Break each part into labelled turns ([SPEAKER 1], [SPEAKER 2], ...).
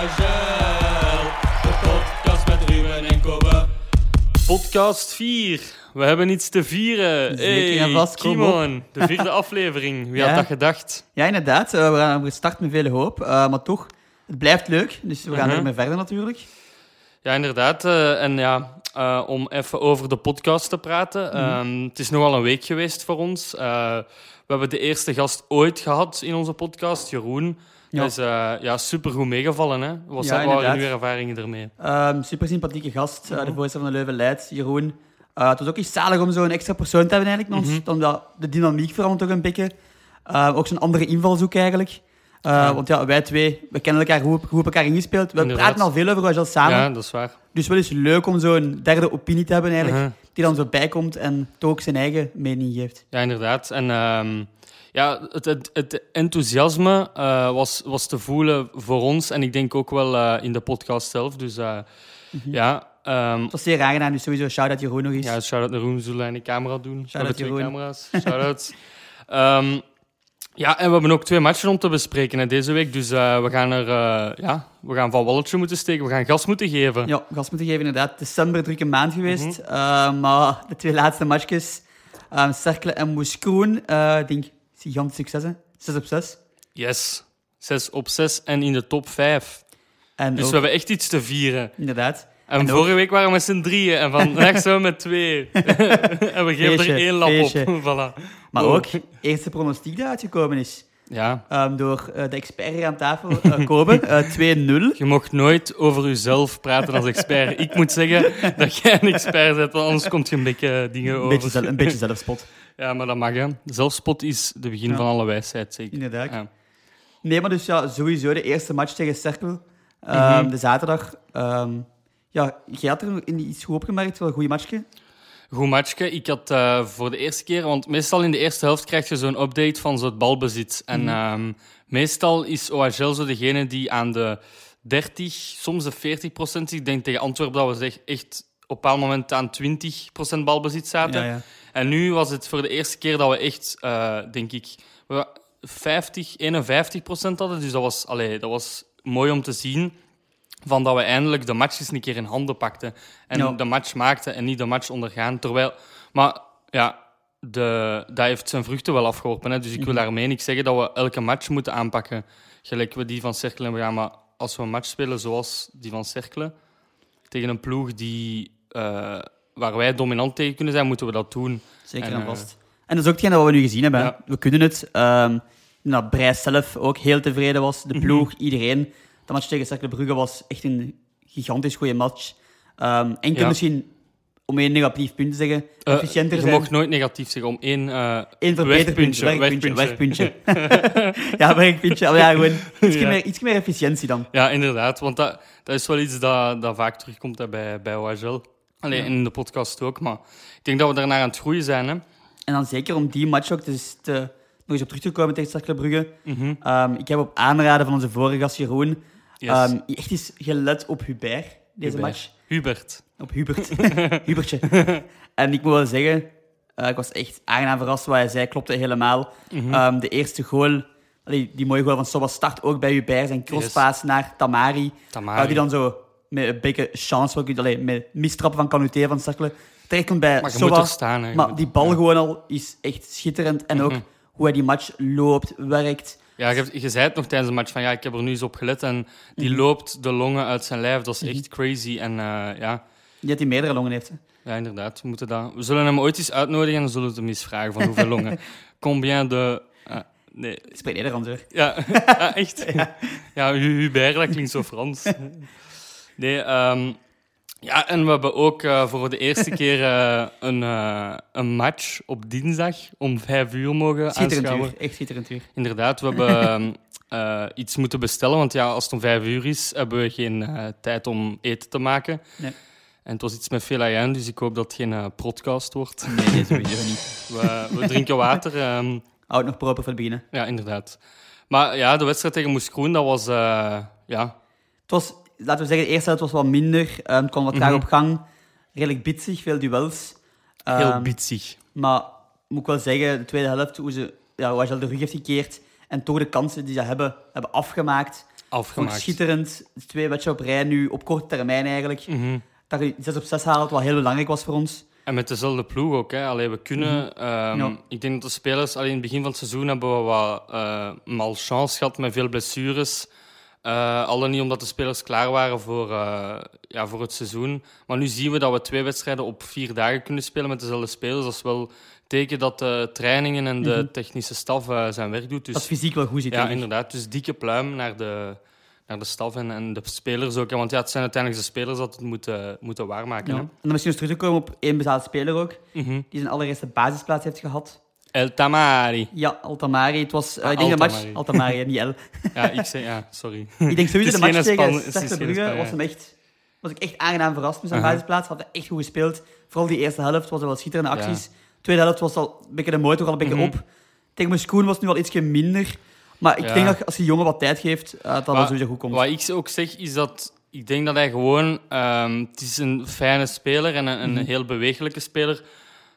[SPEAKER 1] Vollagel, de podcast met Ruben en Kobe.
[SPEAKER 2] Podcast 4. We hebben iets te vieren.
[SPEAKER 3] Zeker en vast, kom
[SPEAKER 2] Kimon, de vierde aflevering. Wie
[SPEAKER 3] Ja.
[SPEAKER 2] had dat gedacht?
[SPEAKER 3] Ja, inderdaad. Eh, we gaan gestart met veel hoop. Eh, maar toch, het blijft leuk. Dus we gaan
[SPEAKER 2] Mhm.
[SPEAKER 3] ermee verder natuurlijk.
[SPEAKER 2] Ja, inderdaad. eh, en ja, eh, om even over de podcast te praten.
[SPEAKER 3] Mhm.
[SPEAKER 2] Ehm, het is nogal een week geweest voor ons. Eh, we hebben de eerste gast ooit gehad in onze podcast, Jeroen.
[SPEAKER 3] Ja.
[SPEAKER 2] Dat is eh, ja, supergoed meegevallen. Hè? Wat
[SPEAKER 3] Ja,
[SPEAKER 2] zijn wat waren
[SPEAKER 3] inderdaad.
[SPEAKER 2] uw ervaringen ermee?
[SPEAKER 3] Ehm, super sympathieke gast, eh,
[SPEAKER 2] Mhm.
[SPEAKER 3] de voorzitter van de Leuven Leids, Jeroen. Eh, het was ook iets zalig om zo'n extra persoon te hebben eigenlijk. met
[SPEAKER 2] Mhm.
[SPEAKER 3] ons, Omdat de dynamiek verandert toch een beetje. Eh, ook zo'n andere invalshoek eigenlijk. Eh,
[SPEAKER 2] Ja.
[SPEAKER 3] Want ja, wij twee, we kennen elkaar goed, goed op elkaar ingespeeld. We
[SPEAKER 2] Inderdaad.
[SPEAKER 3] praten al veel over Rogel samen.
[SPEAKER 2] Ja, dat is waar.
[SPEAKER 3] Dus wel eens leuk om zo'n derde opinie te hebben eigenlijk.
[SPEAKER 2] Mhm.
[SPEAKER 3] Die dan zo bijkomt en toch ook zijn eigen mening geeft.
[SPEAKER 2] Ja, inderdaad. En ehm, ja, het, het, het enthousiasme eh, was, was te voelen voor ons en ik denk ook wel eh, in de podcast zelf. Dus eh,
[SPEAKER 3] Mhm.
[SPEAKER 2] ja, ehm
[SPEAKER 3] Het was zeer aangenaam, dus sowieso shout-out Jeroen nog eens.
[SPEAKER 2] ja, shout-out naar Roen, zullen en de camera doen. We hebben twee
[SPEAKER 3] Jeroen.
[SPEAKER 2] camera's. Shout-out. Ehm, ja, en we hebben ook twee matchen om te bespreken hè, deze week. Dus eh, we gaan er eh, ja, we gaan van walletje moeten steken, we gaan gas moeten geven.
[SPEAKER 3] Ja, gas moeten geven, inderdaad. December drukke maand geweest.
[SPEAKER 2] Mhm.
[SPEAKER 3] Eh, maar de twee laatste matchjes, ehm Cercle en Moeskroen, eh, ik denk gigantisch succes. 6 op 6.
[SPEAKER 2] Yes, 6 op 6 en in de top 5.
[SPEAKER 3] En
[SPEAKER 2] Dus
[SPEAKER 3] ook,
[SPEAKER 2] we hebben echt iets te vieren.
[SPEAKER 3] inderdaad.
[SPEAKER 2] En,
[SPEAKER 3] En
[SPEAKER 2] vorige week waren we met z'n drieën en vandaag zijn we met twee. en we geven
[SPEAKER 3] Feestje,
[SPEAKER 2] er één lap
[SPEAKER 3] feestje.
[SPEAKER 2] op. voilà.
[SPEAKER 3] Maar
[SPEAKER 2] Oh.
[SPEAKER 3] ook, eerste pronostiek die uitgekomen is.
[SPEAKER 2] Ja,
[SPEAKER 3] ehm, door eh, de expert hier aan tafel, eh, Kobe, eh, 2-0.
[SPEAKER 2] je mocht nooit over jezelf praten als expert. Ik moet zeggen dat jij een expert bent, want anders komt je een beetje eh, dingen
[SPEAKER 3] Een
[SPEAKER 2] over.
[SPEAKER 3] beetje, zel- een beetje zelfspot.
[SPEAKER 2] Ja, maar dat mag, hè. Zelfspot is de begin
[SPEAKER 3] Ja.
[SPEAKER 2] van alle wijsheid, zeker.
[SPEAKER 3] Inderdaad.
[SPEAKER 2] Ja.
[SPEAKER 3] Nee, maar dus ja, sowieso de eerste match tegen Cercle. ehm,
[SPEAKER 2] Mhm.
[SPEAKER 3] De zaterdag. ehm, ja, jij had er iets goed opgemerkt, wel een goede matchje.
[SPEAKER 2] Goed matchje. Ik had eh, voor de eerste keer, want meestal in de eerste helft krijg je zo'n update van zo'n balbezit.
[SPEAKER 3] Mhm.
[SPEAKER 2] En ehm, meestal is OHL zo degene die aan de 30, soms de 40 procent. Ik denk tegen Antwerpen dat we zeg- echt op een bepaald moment aan 20 procent balbezit zaten.
[SPEAKER 3] ja.
[SPEAKER 2] En nu was het voor de eerste keer dat we echt, eh, denk ik, we 50, 51 procent hadden. Dus dat was, allee, dat was mooi om te zien. Van dat we eindelijk de match eens een keer in handen pakten. En
[SPEAKER 3] Ja.
[SPEAKER 2] de match maakten en niet de match ondergaan. Terwijl, maar ja, de, dat heeft zijn vruchten wel afgeworpen. Hè? Dus ik wil
[SPEAKER 3] Mhm.
[SPEAKER 2] daarmee niet zeggen dat we elke match moeten aanpakken. Gelijk we die van Cercle hebben gedaan. Maar als we een match spelen zoals die van Cercle, tegen een ploeg die, eh, waar wij dominant tegen kunnen zijn, moeten we dat doen.
[SPEAKER 3] Zeker
[SPEAKER 2] En,
[SPEAKER 3] en,
[SPEAKER 2] eh,
[SPEAKER 3] vast. En dat is ook hetgeen dat we nu gezien hebben. hè.
[SPEAKER 2] Ja.
[SPEAKER 3] We kunnen het. Ehm nou, Brijs zelf ook heel tevreden was.
[SPEAKER 2] Mhm.
[SPEAKER 3] De ploeg, iedereen. De match tegen Cercle Brugge was echt een gigantisch goede match. Ehm enkel
[SPEAKER 2] Ja.
[SPEAKER 3] misschien, om één negatief punt te zeggen,
[SPEAKER 2] Eh,
[SPEAKER 3] efficiënter
[SPEAKER 2] je
[SPEAKER 3] zijn.
[SPEAKER 2] mocht nooit negatief zeggen om één... eh,
[SPEAKER 3] Eén verbeterpuntje,
[SPEAKER 2] Wegpuntje,
[SPEAKER 3] werkpuntje, werkpuntje. ja, werkpuntje. Maar ja, gewoon ietsje,
[SPEAKER 2] Ja.
[SPEAKER 3] Meer, ietsje meer efficiëntie dan.
[SPEAKER 2] ja, inderdaad. Want dat, dat is wel iets dat, dat vaak terugkomt hè, bij, bij OHL. Alleen in de podcast ook. Maar ik denk dat we daarnaar aan het groeien zijn. Hè.
[SPEAKER 3] En dan zeker om die match ook dus te, nog eens op terug te komen tegen Cercle Brugge.
[SPEAKER 2] Mhm.
[SPEAKER 3] Ehm, ik heb op aanraden van onze vorige gast Jeroen
[SPEAKER 2] Yes.
[SPEAKER 3] ehm, echt eens gelet op Hubert, deze
[SPEAKER 2] Hubert.
[SPEAKER 3] match.
[SPEAKER 2] Hubert.
[SPEAKER 3] Op Hubert. Hubertje. En ik moet wel zeggen, eh, ik was echt aangenaam verrast wat hij zei. Klopte helemaal.
[SPEAKER 2] Mhm.
[SPEAKER 3] Ehm, de eerste goal, allee, die mooie goal van Sobas start ook bij Hubert. Zijn crosspaas naar Tamari.
[SPEAKER 2] Tamari.
[SPEAKER 3] Eh, die dan zo met een beetje chance, ook, allee, met mistrappen van Canute van Cercle. Terecht komt bij
[SPEAKER 2] Maar je moet
[SPEAKER 3] Soba.
[SPEAKER 2] er staan. Hè. Je
[SPEAKER 3] Maar
[SPEAKER 2] moet- Mhm.
[SPEAKER 3] die bal gewoon al is echt schitterend. En ook hoe hij die match loopt, werkt.
[SPEAKER 2] Ja, je, hebt- je zei het nog tijdens de match van ja, ik heb er nu eens op gelet en die
[SPEAKER 3] Mhm.
[SPEAKER 2] loopt de longen uit zijn lijf. Dat is echt crazy. En eh, ja,
[SPEAKER 3] Die dat hij meerdere longen heeft. hè.
[SPEAKER 2] ja, inderdaad, we moeten dat. We zullen hem ooit eens uitnodigen en dan zullen we hem eens vragen van hoeveel longen. Combien de. eh, nee,
[SPEAKER 3] Ik spreek Nederlands hoor.
[SPEAKER 2] Ja, ja, echt. Ja, Hu- Hubert, dat klinkt zo Frans. Nee, ehm, ja, en we hebben ook eh, voor de eerste keer eh, een, eh, een match op dinsdag om vijf uur mogen
[SPEAKER 3] Schitterend
[SPEAKER 2] aanschouwen.
[SPEAKER 3] uur. Echt schitterend uur.
[SPEAKER 2] Inderdaad, we hebben ehm, eh, iets moeten bestellen, want ja, als het om vijf uur is, hebben we geen eh, tijd om eten te maken.
[SPEAKER 3] Nee.
[SPEAKER 2] En het was iets met veel aan, dus ik hoop dat het geen eh, podcast wordt.
[SPEAKER 3] Nee, nee, sowieso niet.
[SPEAKER 2] We, we drinken water. ehm,
[SPEAKER 3] Houd nog proper voor het begin. hè.
[SPEAKER 2] ja, inderdaad. Maar ja, de wedstrijd tegen Moeskroen, dat was... eh, ja,
[SPEAKER 3] Het was, laten we zeggen, de eerste helft was wat minder. Ehm het kwam wat traag
[SPEAKER 2] Mhm.
[SPEAKER 3] op gang. Redelijk bitsig, veel duels. Ehm,
[SPEAKER 2] heel bitsig.
[SPEAKER 3] Maar moet ik wel zeggen, de tweede helft, hoe ze ja, hoe Agile de rug heeft gekeerd en toch de kansen die ze hebben, hebben afgemaakt. Vond ik
[SPEAKER 2] afgemaakt.
[SPEAKER 3] schitterend. Twee wedstrijden op rij nu, op korte termijn eigenlijk.
[SPEAKER 2] Mhm.
[SPEAKER 3] Dat je 6 op 6 haalt, wat heel belangrijk was voor ons.
[SPEAKER 2] En met dezelfde ploeg ook. Hè. Allee, we kunnen... ehm,
[SPEAKER 3] Mhm. Ja.
[SPEAKER 2] Ik denk dat de spelers... Allee, in het begin van het seizoen hebben we wat eh, malchance gehad met veel blessures. Eh, al dan niet omdat de spelers klaar waren voor, eh, ja, voor het seizoen. Maar nu zien we dat we twee wedstrijden op vier dagen kunnen spelen met dezelfde spelers. Dat is wel een teken dat de trainingen en de technische staf eh, zijn werk doet. Dus,
[SPEAKER 3] Mhm. Dat is fysiek wel goed zit.
[SPEAKER 2] ja,
[SPEAKER 3] denk ik.
[SPEAKER 2] inderdaad. Dus dikke pluim naar de, naar de staf en, en de spelers ook. hè. Want ja, het zijn uiteindelijk de spelers dat het moeten, moeten waarmaken.
[SPEAKER 3] Ja.
[SPEAKER 2] hè.
[SPEAKER 3] En dan misschien eens terug te komen op één bezaalde speler ook,
[SPEAKER 2] Mhm.
[SPEAKER 3] die zijn allereerste basisplaats heeft gehad.
[SPEAKER 2] El Tamari.
[SPEAKER 3] Ja, Altamari. Het was, eh,
[SPEAKER 2] Ah,
[SPEAKER 3] ik denk de
[SPEAKER 2] Altamari.
[SPEAKER 3] match... Altamari, hè, niet El.
[SPEAKER 2] Ja, ik zeg, ja, sorry.
[SPEAKER 3] Ik denk sowieso
[SPEAKER 2] Het
[SPEAKER 3] de match
[SPEAKER 2] is geen
[SPEAKER 3] tegen
[SPEAKER 2] span- het is
[SPEAKER 3] Cercle
[SPEAKER 2] geen
[SPEAKER 3] Brugge
[SPEAKER 2] span,
[SPEAKER 3] was
[SPEAKER 2] ja. Uh-huh.
[SPEAKER 3] hem echt... Was ik echt aangenaam verrast met zijn
[SPEAKER 2] Aha.
[SPEAKER 3] basisplaats. Had hij echt goed gespeeld. Vooral die eerste helft was er wel schitterende acties. Tweede helft was al een beetje de motor al een beetje
[SPEAKER 2] Mhm.
[SPEAKER 3] op. Tegen Moeskoen was het nu al ietsje minder. Maar ik
[SPEAKER 2] Ja.
[SPEAKER 3] denk dat als die jongen wat tijd geeft, eh, dat dat wel
[SPEAKER 2] Wat-
[SPEAKER 3] sowieso goed komt.
[SPEAKER 2] Wat ik ook zeg, is dat ik denk dat hij gewoon... ehm, het is een fijne speler en een, een
[SPEAKER 3] Mhm.
[SPEAKER 2] heel bewegelijke speler.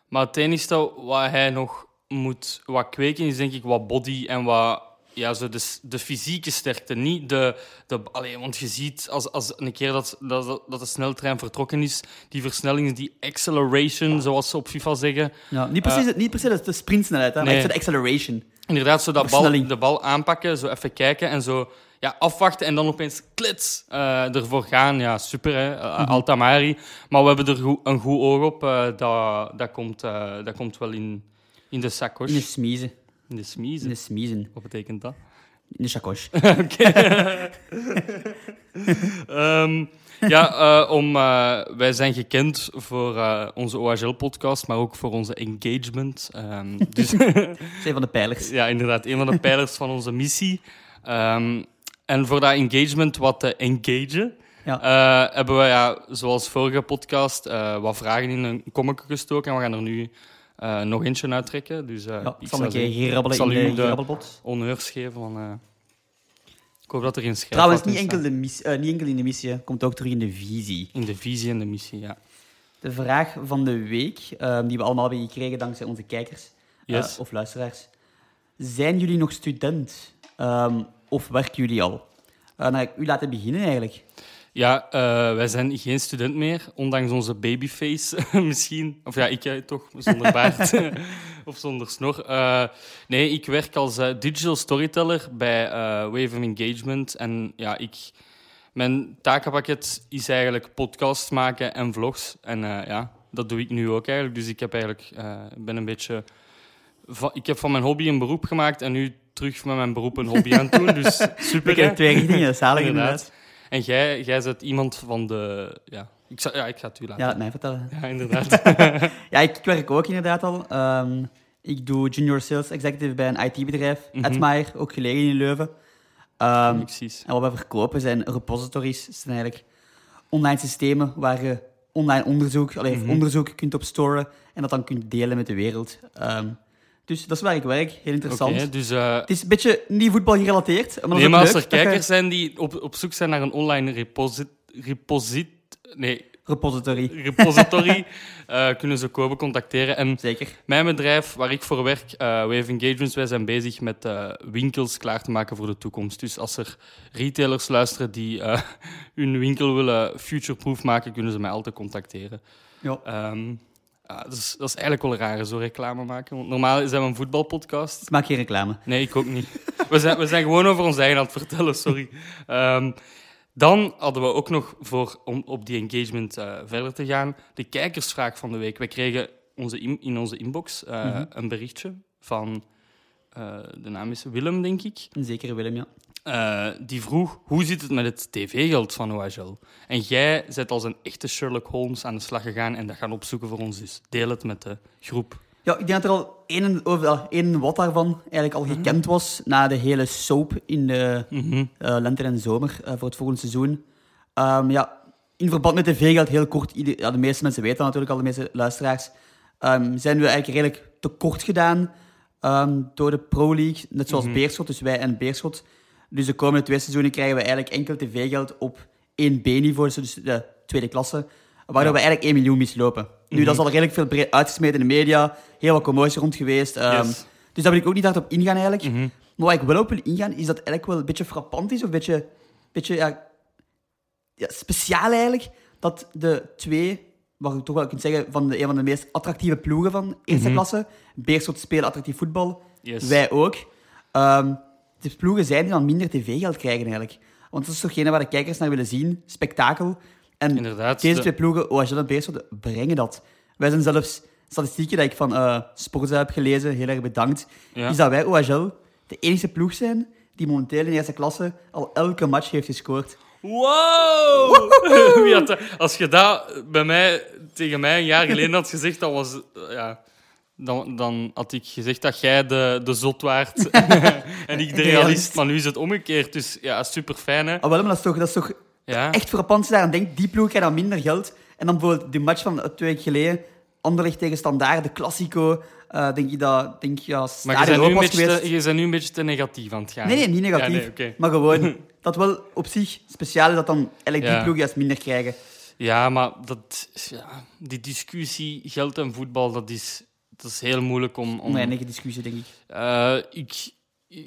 [SPEAKER 2] Maar het enige wat hij nog moet wat kweken, is denk ik wat body en wat... Ja, zo de, s- de fysieke sterkte, niet de... de allee, want je ziet, als, als een keer dat, dat, dat de sneltrein vertrokken is, die versnellingen, die acceleration, zoals ze op FIFA zeggen,
[SPEAKER 3] ja, niet, precies, niet precies de sprintsnelheid, hè, maar
[SPEAKER 2] Eh. nee.
[SPEAKER 3] echt zo de acceleration.
[SPEAKER 2] Inderdaad, zo dat bal,
[SPEAKER 3] Versnelling.
[SPEAKER 2] de bal aanpakken, zo even kijken en zo ja, afwachten en dan opeens klits eh, ervoor gaan. Ja, super, hè? Eh,
[SPEAKER 3] Mhm.
[SPEAKER 2] Altamari. Maar we hebben er goe- een goed oog op. eh, dat, dat, komt, eh, dat komt wel in, in de sakos.
[SPEAKER 3] In de smiezen.
[SPEAKER 2] In de
[SPEAKER 3] In
[SPEAKER 2] smiezen.
[SPEAKER 3] de smiezen.
[SPEAKER 2] Wat betekent dat?
[SPEAKER 3] In de chacoche.
[SPEAKER 2] Ehm, ja, eh, om, eh, wij zijn gekend voor eh, onze OHL-podcast, maar ook voor onze engagement. Ehm, dus
[SPEAKER 3] Zijn van de pijlers.
[SPEAKER 2] Ja, inderdaad. Een van de pijlers van onze missie. Ehm, en voor dat engagement wat te engagen,
[SPEAKER 3] Ja.
[SPEAKER 2] eh, hebben we, ja, zoals vorige podcast, eh, wat vragen in een kommetje gestoken. En we gaan er nu eh, nog eentje uittrekken. Dus eh,
[SPEAKER 3] Ja, ik
[SPEAKER 2] ik
[SPEAKER 3] zal een
[SPEAKER 2] zou
[SPEAKER 3] keer
[SPEAKER 2] zeggen,
[SPEAKER 3] grabbelen
[SPEAKER 2] zal u
[SPEAKER 3] in de
[SPEAKER 2] de-
[SPEAKER 3] grabbelbot.
[SPEAKER 2] honneurs geven van... eh, ik hoop dat er in schrijft.
[SPEAKER 3] Trouwens,
[SPEAKER 2] wat
[SPEAKER 3] niet
[SPEAKER 2] in
[SPEAKER 3] enkel,
[SPEAKER 2] staat.
[SPEAKER 3] de mis, eh, niet enkel in de missie, hè. komt ook terug in de visie.
[SPEAKER 2] eh, In de visie en de missie, ja.
[SPEAKER 3] De vraag van de week, eh, die we allemaal hebben gekregen dankzij onze kijkers eh,
[SPEAKER 2] Yes.
[SPEAKER 3] of luisteraars. Zijn jullie nog student Ehm, of werken jullie al? Eh dan ga ik u laten beginnen eigenlijk.
[SPEAKER 2] Ja, eh, wij zijn geen student meer, ondanks onze babyface misschien. Of ja, ik eh, toch, zonder baard of zonder snor. Eh, nee, ik werk als eh, digital storyteller bij eh, Wave of Engagement. En ja, ik, mijn takenpakket is eigenlijk podcasts maken en vlogs. En eh, ja, dat doe ik nu ook eigenlijk. Dus ik heb eigenlijk, eh, ben een beetje... va- ik heb van mijn hobby een beroep gemaakt en nu terug met mijn beroep een hobby aan het doen. Dus super,
[SPEAKER 3] Ik heb
[SPEAKER 2] hè?
[SPEAKER 3] twee richtingen, dat is zalig inderdaad.
[SPEAKER 2] Inderdaad. En jij, jij bent iemand van de. Ja, ik, zou, ja, ik ga het u
[SPEAKER 3] Ja,
[SPEAKER 2] laten.
[SPEAKER 3] laat mij vertellen.
[SPEAKER 2] Ja, inderdaad.
[SPEAKER 3] Ja, ik, ik werk ook inderdaad al. Ehm, ik doe junior sales executive bij een IT-bedrijf,
[SPEAKER 2] Mhm.
[SPEAKER 3] Edmaier, ook gelegen in Leuven. Ehm,
[SPEAKER 2] Precies.
[SPEAKER 3] En wat wij verkopen zijn repositories. Dat zijn eigenlijk online systemen waar je online onderzoek, allee,
[SPEAKER 2] Mhm.
[SPEAKER 3] onderzoek kunt opstoren en dat dan kunt delen met de wereld. Ehm, dus dat is waar ik werk. Heel
[SPEAKER 2] Oké,
[SPEAKER 3] interessant.
[SPEAKER 2] dus. eh
[SPEAKER 3] Het is een beetje niet voetbal gerelateerd, maar dat is
[SPEAKER 2] nee,
[SPEAKER 3] ook
[SPEAKER 2] maar als
[SPEAKER 3] leuk
[SPEAKER 2] er
[SPEAKER 3] dat je-
[SPEAKER 2] kijkers zijn die op, op zoek zijn naar een online reposit. reposit nee,
[SPEAKER 3] Repository,
[SPEAKER 2] repository. eh, kunnen ze Kobe contacteren. En
[SPEAKER 3] zeker.
[SPEAKER 2] mijn bedrijf, waar ik voor werk, eh Wave Engagements, wij zijn bezig met eh, winkels klaar te maken voor de toekomst. Dus als er retailers luisteren die eh, hun winkel willen futureproof maken, kunnen ze mij altijd contacteren.
[SPEAKER 3] Ja.
[SPEAKER 2] Ehm, ja, dat, is, dat is eigenlijk wel raar, zo reclame maken. Want normaal zijn we een voetbalpodcast.
[SPEAKER 3] Ik maak geen reclame.
[SPEAKER 2] Nee, ik ook niet. We zijn, we zijn gewoon over ons eigen aan het vertellen, sorry. Ehm, dan hadden we ook nog, voor, om op die engagement eh, verder te gaan, de kijkersvraag van de week. We kregen onze in, in onze inbox eh, een berichtje van, eh, de naam is Willem, denk ik.
[SPEAKER 3] Zeker Willem, ja.
[SPEAKER 2] Eh, die vroeg, hoe zit het met het tv-geld van OHL? En jij bent als een echte Sherlock Holmes aan de slag gegaan en dat gaan opzoeken voor ons. Dus deel het met de groep.
[SPEAKER 3] Ja, ik denk dat er al één, of, al één wat daarvan eigenlijk
[SPEAKER 2] Mhm.
[SPEAKER 3] al gekend was na de hele soap in de eh, lente en zomer eh, voor het volgende seizoen. Ehm, ja, in verband met tv geld heel kort. ieder- ja, de meeste mensen weten dat natuurlijk al, de meeste luisteraars. ehm, zijn we eigenlijk redelijk tekort gedaan ehm, door de Pro League, net zoals Beerschot, dus wij en Beerschot. Dus de komende twee seizoenen krijgen we eigenlijk enkel tv-geld op 1B-niveau, dus de tweede klasse, waardoor we eigenlijk 1 miljoen mislopen. Nu, dat is al redelijk veel breed uitgesmeten in de media, heel wat commotie rond geweest. ehm,
[SPEAKER 2] Yes. Mhm.
[SPEAKER 3] Dus daar wil ik ook niet hard op ingaan eigenlijk. Maar waar ik wel op wil ingaan, is dat eigenlijk wel een beetje frappant is, of een beetje, beetje ja, ja, speciaal eigenlijk, dat de twee, waar ik toch wel kunt zeggen, van de, een van de meest attractieve ploegen van eerste klasse, Beerschot spelen attractief voetbal,
[SPEAKER 2] Mhm. Yes.
[SPEAKER 3] wij ook, Ehm de ploegen zijn die dan minder tv-geld krijgen eigenlijk. Want dat is toch waar de kijkers naar willen zien, spektakel. En
[SPEAKER 2] Inderdaad,
[SPEAKER 3] deze
[SPEAKER 2] de-
[SPEAKER 3] twee ploegen, oh, OHL en Beerschot, brengen dat. Wij zijn zelfs, statistieken die ik van eh Sportza heb gelezen, heel erg bedankt,
[SPEAKER 2] Ja.
[SPEAKER 3] is dat wij, OHL, de enige ploeg zijn die momenteel in eerste klasse al elke match heeft gescoord.
[SPEAKER 2] Wow! Wie had dat- Als je dat bij mij, tegen mij een jaar geleden had gezegd, dat was, eh, ja, dan, dan had ik gezegd dat jij de, de zot waart en ik de realist. Maar nu is het omgekeerd, dus ja, super fijn. Hè?
[SPEAKER 3] Ah, wel, maar dat is toch, dat is toch
[SPEAKER 2] Ja.
[SPEAKER 3] echt frappant als je daaraan denkt. Die ploeg krijgt dan minder geld. En dan bijvoorbeeld die match van eh, twee weken geleden, Anderlecht tegen Standaard, de Classico, eh, denk je dat, denk je, ja,
[SPEAKER 2] Maar je
[SPEAKER 3] Stadion
[SPEAKER 2] bent, nu
[SPEAKER 3] Europa
[SPEAKER 2] een
[SPEAKER 3] was
[SPEAKER 2] beetje
[SPEAKER 3] geweest.
[SPEAKER 2] te, je bent nu een beetje te negatief aan het gaan.
[SPEAKER 3] Nee, nee, niet negatief.
[SPEAKER 2] Ja, nee, oké.
[SPEAKER 3] Maar gewoon, dat wel op zich speciaal is dat dan eigenlijk
[SPEAKER 2] Ja.
[SPEAKER 3] die ploeg juist minder krijgen.
[SPEAKER 2] Ja, maar dat, is- ja, die discussie geld en voetbal, dat is, dat is heel moeilijk om... om
[SPEAKER 3] Oneindige discussie, denk ik.
[SPEAKER 2] Eh, ik,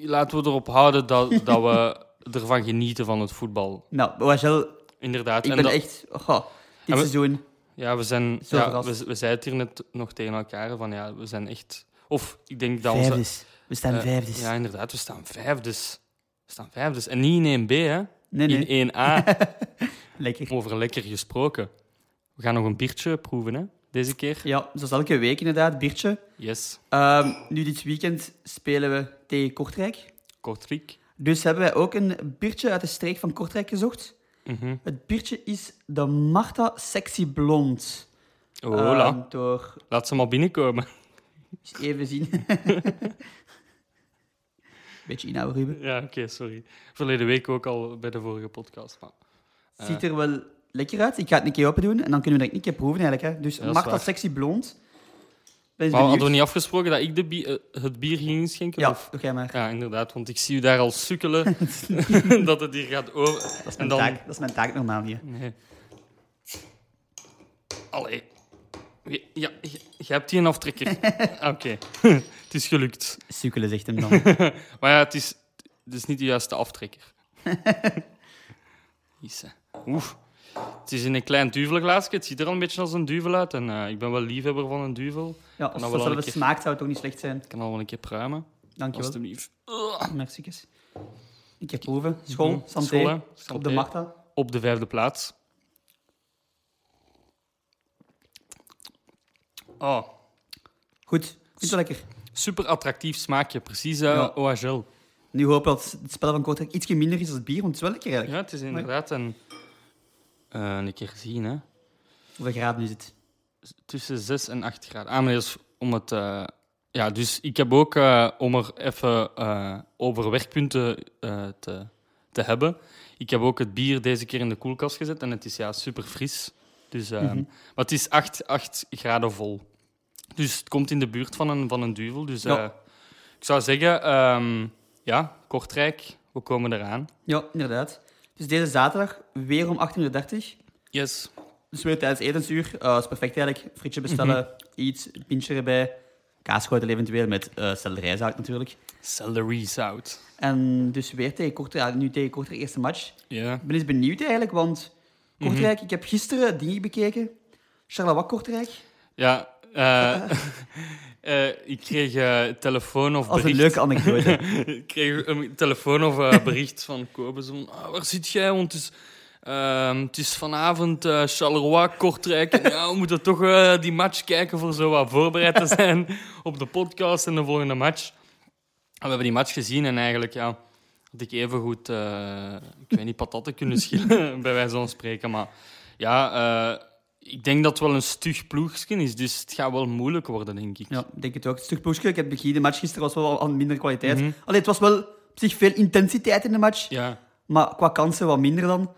[SPEAKER 2] laten we erop houden dat, dat we ervan genieten van het voetbal.
[SPEAKER 3] Nou, OHL,
[SPEAKER 2] Inderdaad.
[SPEAKER 3] ik
[SPEAKER 2] en
[SPEAKER 3] ben
[SPEAKER 2] dat-
[SPEAKER 3] echt... Oh, dit
[SPEAKER 2] En we-
[SPEAKER 3] seizoen.
[SPEAKER 2] Ja, we zijn.
[SPEAKER 3] Zo
[SPEAKER 2] Ja,
[SPEAKER 3] verrast.
[SPEAKER 2] we, we zeiden het hier net nog tegen elkaar van ja, we zijn echt. Of ik denk dat onze.
[SPEAKER 3] Vijfdes. We staan
[SPEAKER 2] eh,
[SPEAKER 3] vijfdes.
[SPEAKER 2] Ja, inderdaad, we staan vijfdes. We staan vijfdes. En niet in 1B, hè?
[SPEAKER 3] nee, nee.
[SPEAKER 2] In 1A.
[SPEAKER 3] Lekker.
[SPEAKER 2] Over lekker gesproken. We gaan nog een biertje proeven, hè? Deze keer.
[SPEAKER 3] Ja, zoals elke week inderdaad, biertje.
[SPEAKER 2] Yes.
[SPEAKER 3] Ehm, nu dit weekend spelen we tegen Kortrijk.
[SPEAKER 2] Kortrijk.
[SPEAKER 3] Dus hebben wij ook een biertje uit de streek van Kortrijk gezocht.
[SPEAKER 2] Mhm.
[SPEAKER 3] Het biertje is de Marta Sexy Blond.
[SPEAKER 2] Oh, Hola.
[SPEAKER 3] Ehm, door
[SPEAKER 2] Laat ze maar binnenkomen.
[SPEAKER 3] Eens even zien. Beetje inhouden, Ruben.
[SPEAKER 2] Ja, oké, sorry. Verleden week ook al bij de vorige podcast. Maar...
[SPEAKER 3] Eh. Ziet er wel lekker uit. Ik ga het een keer open doen en dan kunnen we dat een keer proeven eigenlijk. Hè. Dus
[SPEAKER 2] dat is
[SPEAKER 3] Marta
[SPEAKER 2] waar.
[SPEAKER 3] Sexy Blond. Ben eens
[SPEAKER 2] Maar hadden we
[SPEAKER 3] benieuwd.
[SPEAKER 2] niet afgesproken dat ik de bi- eh, het bier ging inschenken?
[SPEAKER 3] Ja,
[SPEAKER 2] Of-
[SPEAKER 3] doe jij maar.
[SPEAKER 2] Ja, inderdaad, want ik zie u daar al sukkelen dat het hier gaat over.
[SPEAKER 3] Dat is
[SPEAKER 2] en
[SPEAKER 3] mijn,
[SPEAKER 2] dan.
[SPEAKER 3] taak. Dat is mijn taak normaal hier.
[SPEAKER 2] Nee. Allee. Ja, ja, je- je hebt hier een aftrekker. Ah, Oké, het is gelukt.
[SPEAKER 3] Sukkelen, zegt hem
[SPEAKER 2] Nou,
[SPEAKER 3] dan.
[SPEAKER 2] Maar ja, het is, het is niet de juiste aftrekker. Hisse. Oef. Het is in een klein duvelglaasje. Het ziet er al een beetje als een duvel uit. En eh, ik ben wel liefhebber van een duvel.
[SPEAKER 3] Ja, als
[SPEAKER 2] wel
[SPEAKER 3] het
[SPEAKER 2] een
[SPEAKER 3] zelfs
[SPEAKER 2] keer.
[SPEAKER 3] smaakt, zou het ook niet slecht zijn.
[SPEAKER 2] Ik kan al wel een keer pruimen.
[SPEAKER 3] Dankjewel.
[SPEAKER 2] Alsjeblieft. Ah,
[SPEAKER 3] Merci. Een keer proeven. School,
[SPEAKER 2] Mhm.
[SPEAKER 3] santé.
[SPEAKER 2] School, hè.
[SPEAKER 3] Op de
[SPEAKER 2] Santé.
[SPEAKER 3] Marta.
[SPEAKER 2] op de vijfde plaats. Oh,
[SPEAKER 3] Goed. Vind je wel lekker.
[SPEAKER 2] super attractief smaakje, precies eh
[SPEAKER 3] Ja.
[SPEAKER 2] OHL.
[SPEAKER 3] Nu hoop ik dat het spel van Kortrijk iets minder is dan het bier, want het is wel lekker
[SPEAKER 2] Ja,
[SPEAKER 3] eigenlijk.
[SPEAKER 2] het is inderdaad een, eh, een keer gezien, hè?
[SPEAKER 3] Hoeveel graden is het?
[SPEAKER 2] Tussen 6 en 8 graden. Ah, maar dat is om het. eh, ja, dus ik heb ook, eh, om er even eh, over werkpunten eh, te, te hebben. Ik heb ook het bier deze keer in de koelkast gezet en het is ja, super fris. Dus, eh, Maar het is 8, 8 graden vol. Dus het komt in de buurt van een, van een duvel. Dus
[SPEAKER 3] Ja.
[SPEAKER 2] eh, ik zou zeggen, ehm, ja, Kortrijk, we komen eraan.
[SPEAKER 3] Ja, inderdaad. Dus deze zaterdag weer om 18.30 uur.
[SPEAKER 2] Yes.
[SPEAKER 3] Dus weer tijdens etensuur. Eh is perfect eigenlijk. Frietje bestellen, iets, een pintje erbij. Kaasgoten eventueel met eh selderijzaak natuurlijk.
[SPEAKER 2] Celery zout.
[SPEAKER 3] En dus weer tegen Kortrijk, nu tegen Kortrijk eerste match.
[SPEAKER 2] Ja.
[SPEAKER 3] Ik ben eens benieuwd eigenlijk, want Kortrijk, ik heb gisteren dingen bekeken. Charleroi Kortrijk.
[SPEAKER 2] Ja, eh, eh, ik kreeg eh, telefoon of
[SPEAKER 3] Als een
[SPEAKER 2] bericht.
[SPEAKER 3] leuke anekdote.
[SPEAKER 2] ik kreeg een telefoon of eh, bericht van Kobe. Zo van, "Ah, waar zit jij? Want het is, ehm, het is vanavond eh, Charleroi, Kortrijk. En ja, we moeten toch eh, die match kijken voor zo wat voorbereid te zijn op de podcast en de volgende match. En we hebben die match gezien en eigenlijk ja, had ik evengoed, eh ik weet niet, patatten kunnen schillen, bij wijze van spreken. Maar ja, eh, ik denk dat het wel een stug ploegje is, dus het gaat wel moeilijk worden, denk ik.
[SPEAKER 3] ja, ik denk het ook. Het stuk poesje. Ik heb bekeken, de match gisteren was wel van minder kwaliteit. Allee, het was wel op zich veel intensiteit in de match.
[SPEAKER 2] ja.
[SPEAKER 3] Maar qua kansen wat minder dan.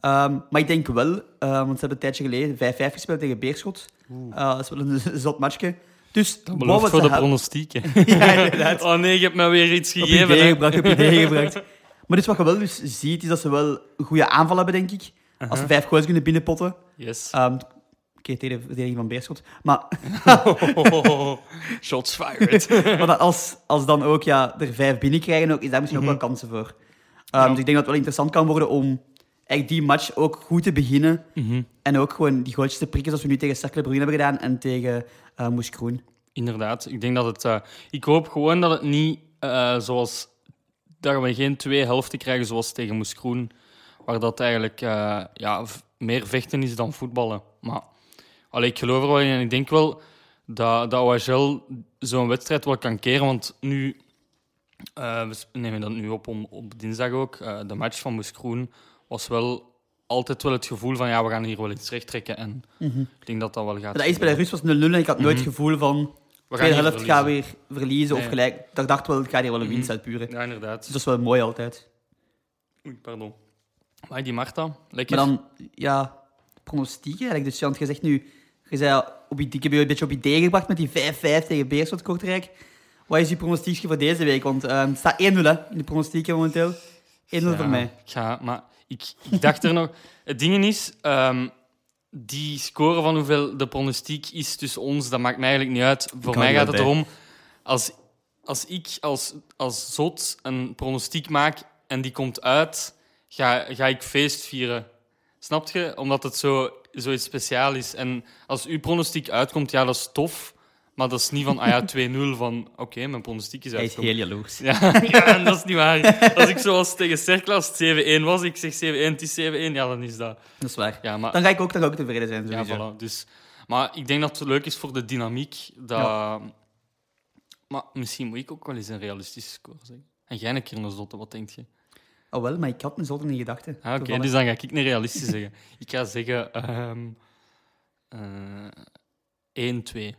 [SPEAKER 3] Ehm, maar ik denk wel, eh, want ze hebben een tijdje geleden 5-5 gespeeld tegen Beerschot. Eh, dat is wel een zot matchje. Dus
[SPEAKER 2] Dat
[SPEAKER 3] wat
[SPEAKER 2] belooft
[SPEAKER 3] we
[SPEAKER 2] voor
[SPEAKER 3] ze
[SPEAKER 2] de
[SPEAKER 3] hebben-
[SPEAKER 2] pronostieken.
[SPEAKER 3] Ja, inderdaad.
[SPEAKER 2] Oh nee, je hebt me weer iets
[SPEAKER 3] Op ideeën
[SPEAKER 2] gegeven. hè.
[SPEAKER 3] gebracht, op ideeën gebracht. Maar dus wat je wel dus ziet, is dat ze wel een goede aanval hebben, denk ik. Als ze vijf goals kunnen binnenpotten.
[SPEAKER 2] Yes.
[SPEAKER 3] Ehm, tegen de verdediging van Beerschot. Maar, Oh.
[SPEAKER 2] Shots fired.
[SPEAKER 3] maar dat als, als dan ook ja, er vijf binnenkrijgen, ook, is daar misschien
[SPEAKER 2] Mhm.
[SPEAKER 3] ook wel kansen voor. Ehm, Dus ik denk dat het wel interessant kan worden om echt die match ook goed te beginnen.
[SPEAKER 2] Mhm.
[SPEAKER 3] En ook gewoon die gootjes te prikken zoals we nu tegen Cercle Brugge hebben gedaan en tegen eh Moes Kroen.
[SPEAKER 2] Inderdaad, ik denk dat het. eh, ik hoop gewoon dat het niet eh, zoals. dat we geen twee helften krijgen zoals tegen Moes Groen. Waar dat eigenlijk eh, ja, v- meer vechten is dan voetballen. Maar allee, ik geloof er wel in en ik denk wel dat, dat OHL zo'n wedstrijd wel kan keren. Want nu. eh, we sp- nemen dat nu op om, op dinsdag ook. Eh, de match van Moes Groen was wel altijd wel het gevoel van ja, we gaan hier wel iets recht trekken. En ik denk dat dat wel gaat.
[SPEAKER 3] Mhm. Maar dat is bij de
[SPEAKER 2] gebeuren.
[SPEAKER 3] Rus was 0-0 en ik had nooit het gevoel van...
[SPEAKER 2] We
[SPEAKER 3] tweede
[SPEAKER 2] hier
[SPEAKER 3] helft gaan we
[SPEAKER 2] verliezen.
[SPEAKER 3] weer verliezen of
[SPEAKER 2] Nee. Mhm.
[SPEAKER 3] gelijk. Ik dacht wel, ik ga hier wel een winst uit puren.
[SPEAKER 2] Ja, inderdaad.
[SPEAKER 3] Dus dat is wel mooi altijd.
[SPEAKER 2] Oei, pardon. Maar die Marta, lekker.
[SPEAKER 3] Maar dan, ja, pronostieken eigenlijk. Dus Jan, je zegt nu, je zei al, op die, ik heb je een beetje op idee gebracht met die 5-5 tegen Beerschot Kortrijk. Wat is je pronostiekje voor deze week? Want eh, het staat 1-0 hè, in de pronostieken momenteel. 1-0 voor mij.
[SPEAKER 2] Ik ga, maar ik, ik dacht er nog... Het ding is, ehm, die score van hoeveel de pronostiek is tussen ons, dat maakt mij eigenlijk niet uit. Voor
[SPEAKER 4] hou
[SPEAKER 2] mij
[SPEAKER 4] er
[SPEAKER 2] gaat
[SPEAKER 4] wel
[SPEAKER 2] het
[SPEAKER 4] bij.
[SPEAKER 2] erom, als, als ik als, als zot een pronostiek maak en die komt uit, ga, ga ik feest vieren. Snap je? Omdat het zo, zoiets speciaal is. En als uw pronostiek uitkomt, ja, dat is tof. Maar dat is niet van, ah ja, 2-0, van oké, mijn pronostiek is
[SPEAKER 3] Hij is
[SPEAKER 2] uitgekomen.
[SPEAKER 3] heel jaloers.
[SPEAKER 2] Ja, ja, en dat is niet waar. Als ik zoals tegen Cercle, als het 7-1 was, ik zeg 7-1, het is 7-1, ja, dan is dat.
[SPEAKER 3] Dat is waar.
[SPEAKER 2] Ja, maar,
[SPEAKER 3] Dan ga ik ook, dan ga ik ook tevreden zijn.
[SPEAKER 2] ja,
[SPEAKER 3] Sowieso.
[SPEAKER 2] voilà. Dus, maar ik denk dat het leuk is voor de dynamiek. Dat... Maar misschien moet ik ook wel eens een realistische score zeggen. En jij een keer een zotte, wat denk je?
[SPEAKER 3] Oh wel, maar ik had me zolder in gedachten.
[SPEAKER 2] Ah, Oké,
[SPEAKER 3] Toevallig.
[SPEAKER 2] dus dan ga ik niet realistisch zeggen. Ik ga zeggen ehm eh 1-2. dus-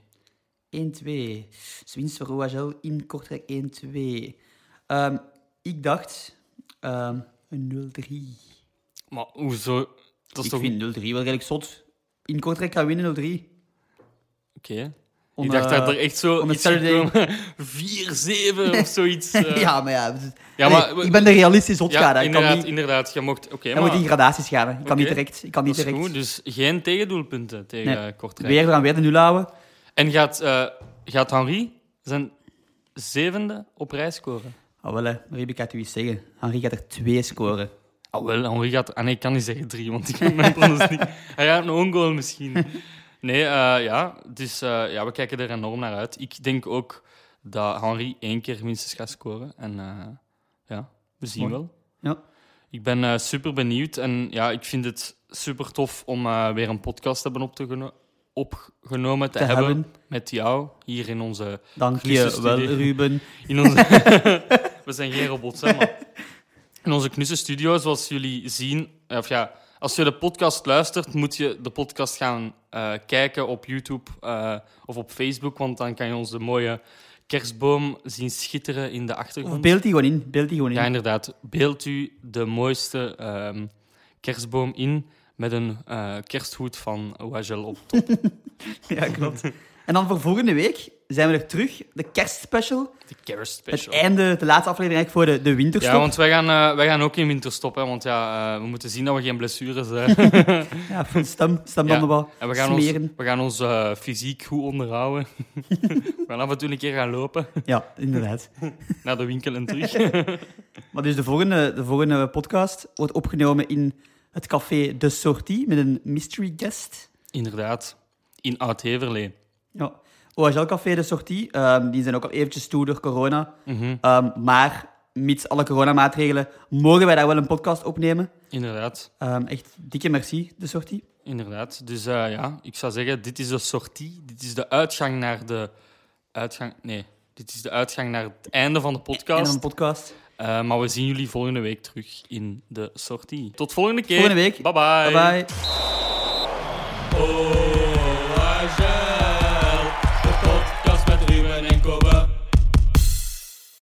[SPEAKER 3] 1-2. Swins voor OHL in Kortrijk 1-2. Ehm, ik dacht ehm, een 0-3.
[SPEAKER 2] Maar hoezo? Dat is
[SPEAKER 3] Ik
[SPEAKER 2] toch...
[SPEAKER 3] vind 0-3 wel redelijk zot. In Kortrijk gaan winnen 0-3.
[SPEAKER 2] Oké.
[SPEAKER 3] Om,
[SPEAKER 2] ik dacht
[SPEAKER 3] eh,
[SPEAKER 2] dat er echt zo
[SPEAKER 3] om het
[SPEAKER 2] iets
[SPEAKER 3] Saturday-
[SPEAKER 2] gekomen- 4-7 of zoiets. eh.
[SPEAKER 3] ja, maar ja.
[SPEAKER 2] Ja, maar we-
[SPEAKER 3] ik ben de realistisch zot gaan. hè. Ik kan
[SPEAKER 2] inderdaad,
[SPEAKER 3] niet,
[SPEAKER 2] inderdaad. Je mocht... Oké,
[SPEAKER 3] ik
[SPEAKER 2] maar
[SPEAKER 3] moet in gradaties gaan. hè. Ik kan niet
[SPEAKER 2] Oké.
[SPEAKER 3] direct. Ik kan
[SPEAKER 2] dat
[SPEAKER 3] niet
[SPEAKER 2] is
[SPEAKER 3] direct.
[SPEAKER 2] goed. Dus geen tegendoelpunten tegen eh,
[SPEAKER 3] Nee.
[SPEAKER 2] Kortrijk.
[SPEAKER 3] Weer, we gaan weer de nul houden.
[SPEAKER 2] En gaat, eh, gaat Henri zijn zevende op rij scoren?
[SPEAKER 3] Oh, wel, hè. Ruby gaat u iets zeggen. Henri gaat er twee scoren.
[SPEAKER 2] Ah, wel, Henri gaat... Ah nee, ik kan niet zeggen drie, want ik heb mijn pronostiek. Hij gaat een own goal misschien. Nee, eh, ja. Dus eh, ja, we kijken er enorm naar uit. Ik denk ook dat Henri één keer minstens gaat scoren. En eh, ja, we zien
[SPEAKER 3] Mooi.
[SPEAKER 2] wel.
[SPEAKER 3] Ja.
[SPEAKER 2] Ik ben eh, super benieuwd en ja, ik vind het super tof om eh, weer een podcast te hebben op te geno- opgenomen te,
[SPEAKER 3] Te
[SPEAKER 2] hebben,
[SPEAKER 3] hebben.
[SPEAKER 2] met jou hier in onze.
[SPEAKER 3] Dank je
[SPEAKER 2] Knusse
[SPEAKER 3] wel,
[SPEAKER 2] studie.
[SPEAKER 3] Ruben.
[SPEAKER 2] In onze We zijn geen robots, hè, maar. In onze knusse studio, zoals jullie zien. eh, Of ja, als je de podcast luistert, moet je de podcast gaan eh, kijken op YouTube eh, of op Facebook, want dan kan je onze mooie kerstboom zien schitteren in de achtergrond.
[SPEAKER 3] Of beeld die gewoon in. Beeld die gewoon in.
[SPEAKER 2] Ja, inderdaad. Beeld u de mooiste ehm, kerstboom in met een eh, kersthoed van Wagel op. top.
[SPEAKER 3] Ja, klopt. En dan voor volgende week zijn we er terug. De kerstspecial.
[SPEAKER 2] De kerst
[SPEAKER 3] Het
[SPEAKER 2] special.
[SPEAKER 3] einde, de laatste aflevering eigenlijk voor de, de winterstop.
[SPEAKER 2] Ja, want wij gaan, eh, wij gaan ook in winterstop, hè, want ja, eh, we moeten zien dat we geen blessures eh, hebben.
[SPEAKER 3] Ja, van stem, stem
[SPEAKER 2] Ja.
[SPEAKER 3] dan wel.
[SPEAKER 2] En we gaan ons,
[SPEAKER 3] Smeren.
[SPEAKER 2] we gaan ons eh, fysiek goed onderhouden. we gaan af en toe een keer gaan lopen
[SPEAKER 3] Ja, inderdaad.
[SPEAKER 2] naar de winkel en terug.
[SPEAKER 3] Maar dus de volgende, de volgende podcast wordt opgenomen in het café De Sortie met een mystery guest.
[SPEAKER 2] inderdaad, in Oud-Heverlee.
[SPEAKER 3] Ja. OHL Café De Sortie, ehm, die zijn ook al eventjes toe door corona.
[SPEAKER 2] Mhm,
[SPEAKER 3] Ehm, maar mits alle coronamaatregelen mogen wij daar wel een podcast opnemen.
[SPEAKER 2] inderdaad.
[SPEAKER 3] Ehm, echt dikke merci, De Sortie.
[SPEAKER 2] Inderdaad. Dus eh, ja, ik zou zeggen, dit is de sortie. Dit is de uitgang naar de uitgang. Nee, dit is de uitgang naar het einde van de
[SPEAKER 3] En
[SPEAKER 2] podcast.
[SPEAKER 3] een podcast.
[SPEAKER 2] Eh, maar we zien jullie volgende week terug in de sortie. Tot volgende keer.
[SPEAKER 3] Volgende week.
[SPEAKER 2] Bye bye.
[SPEAKER 3] Bye bye.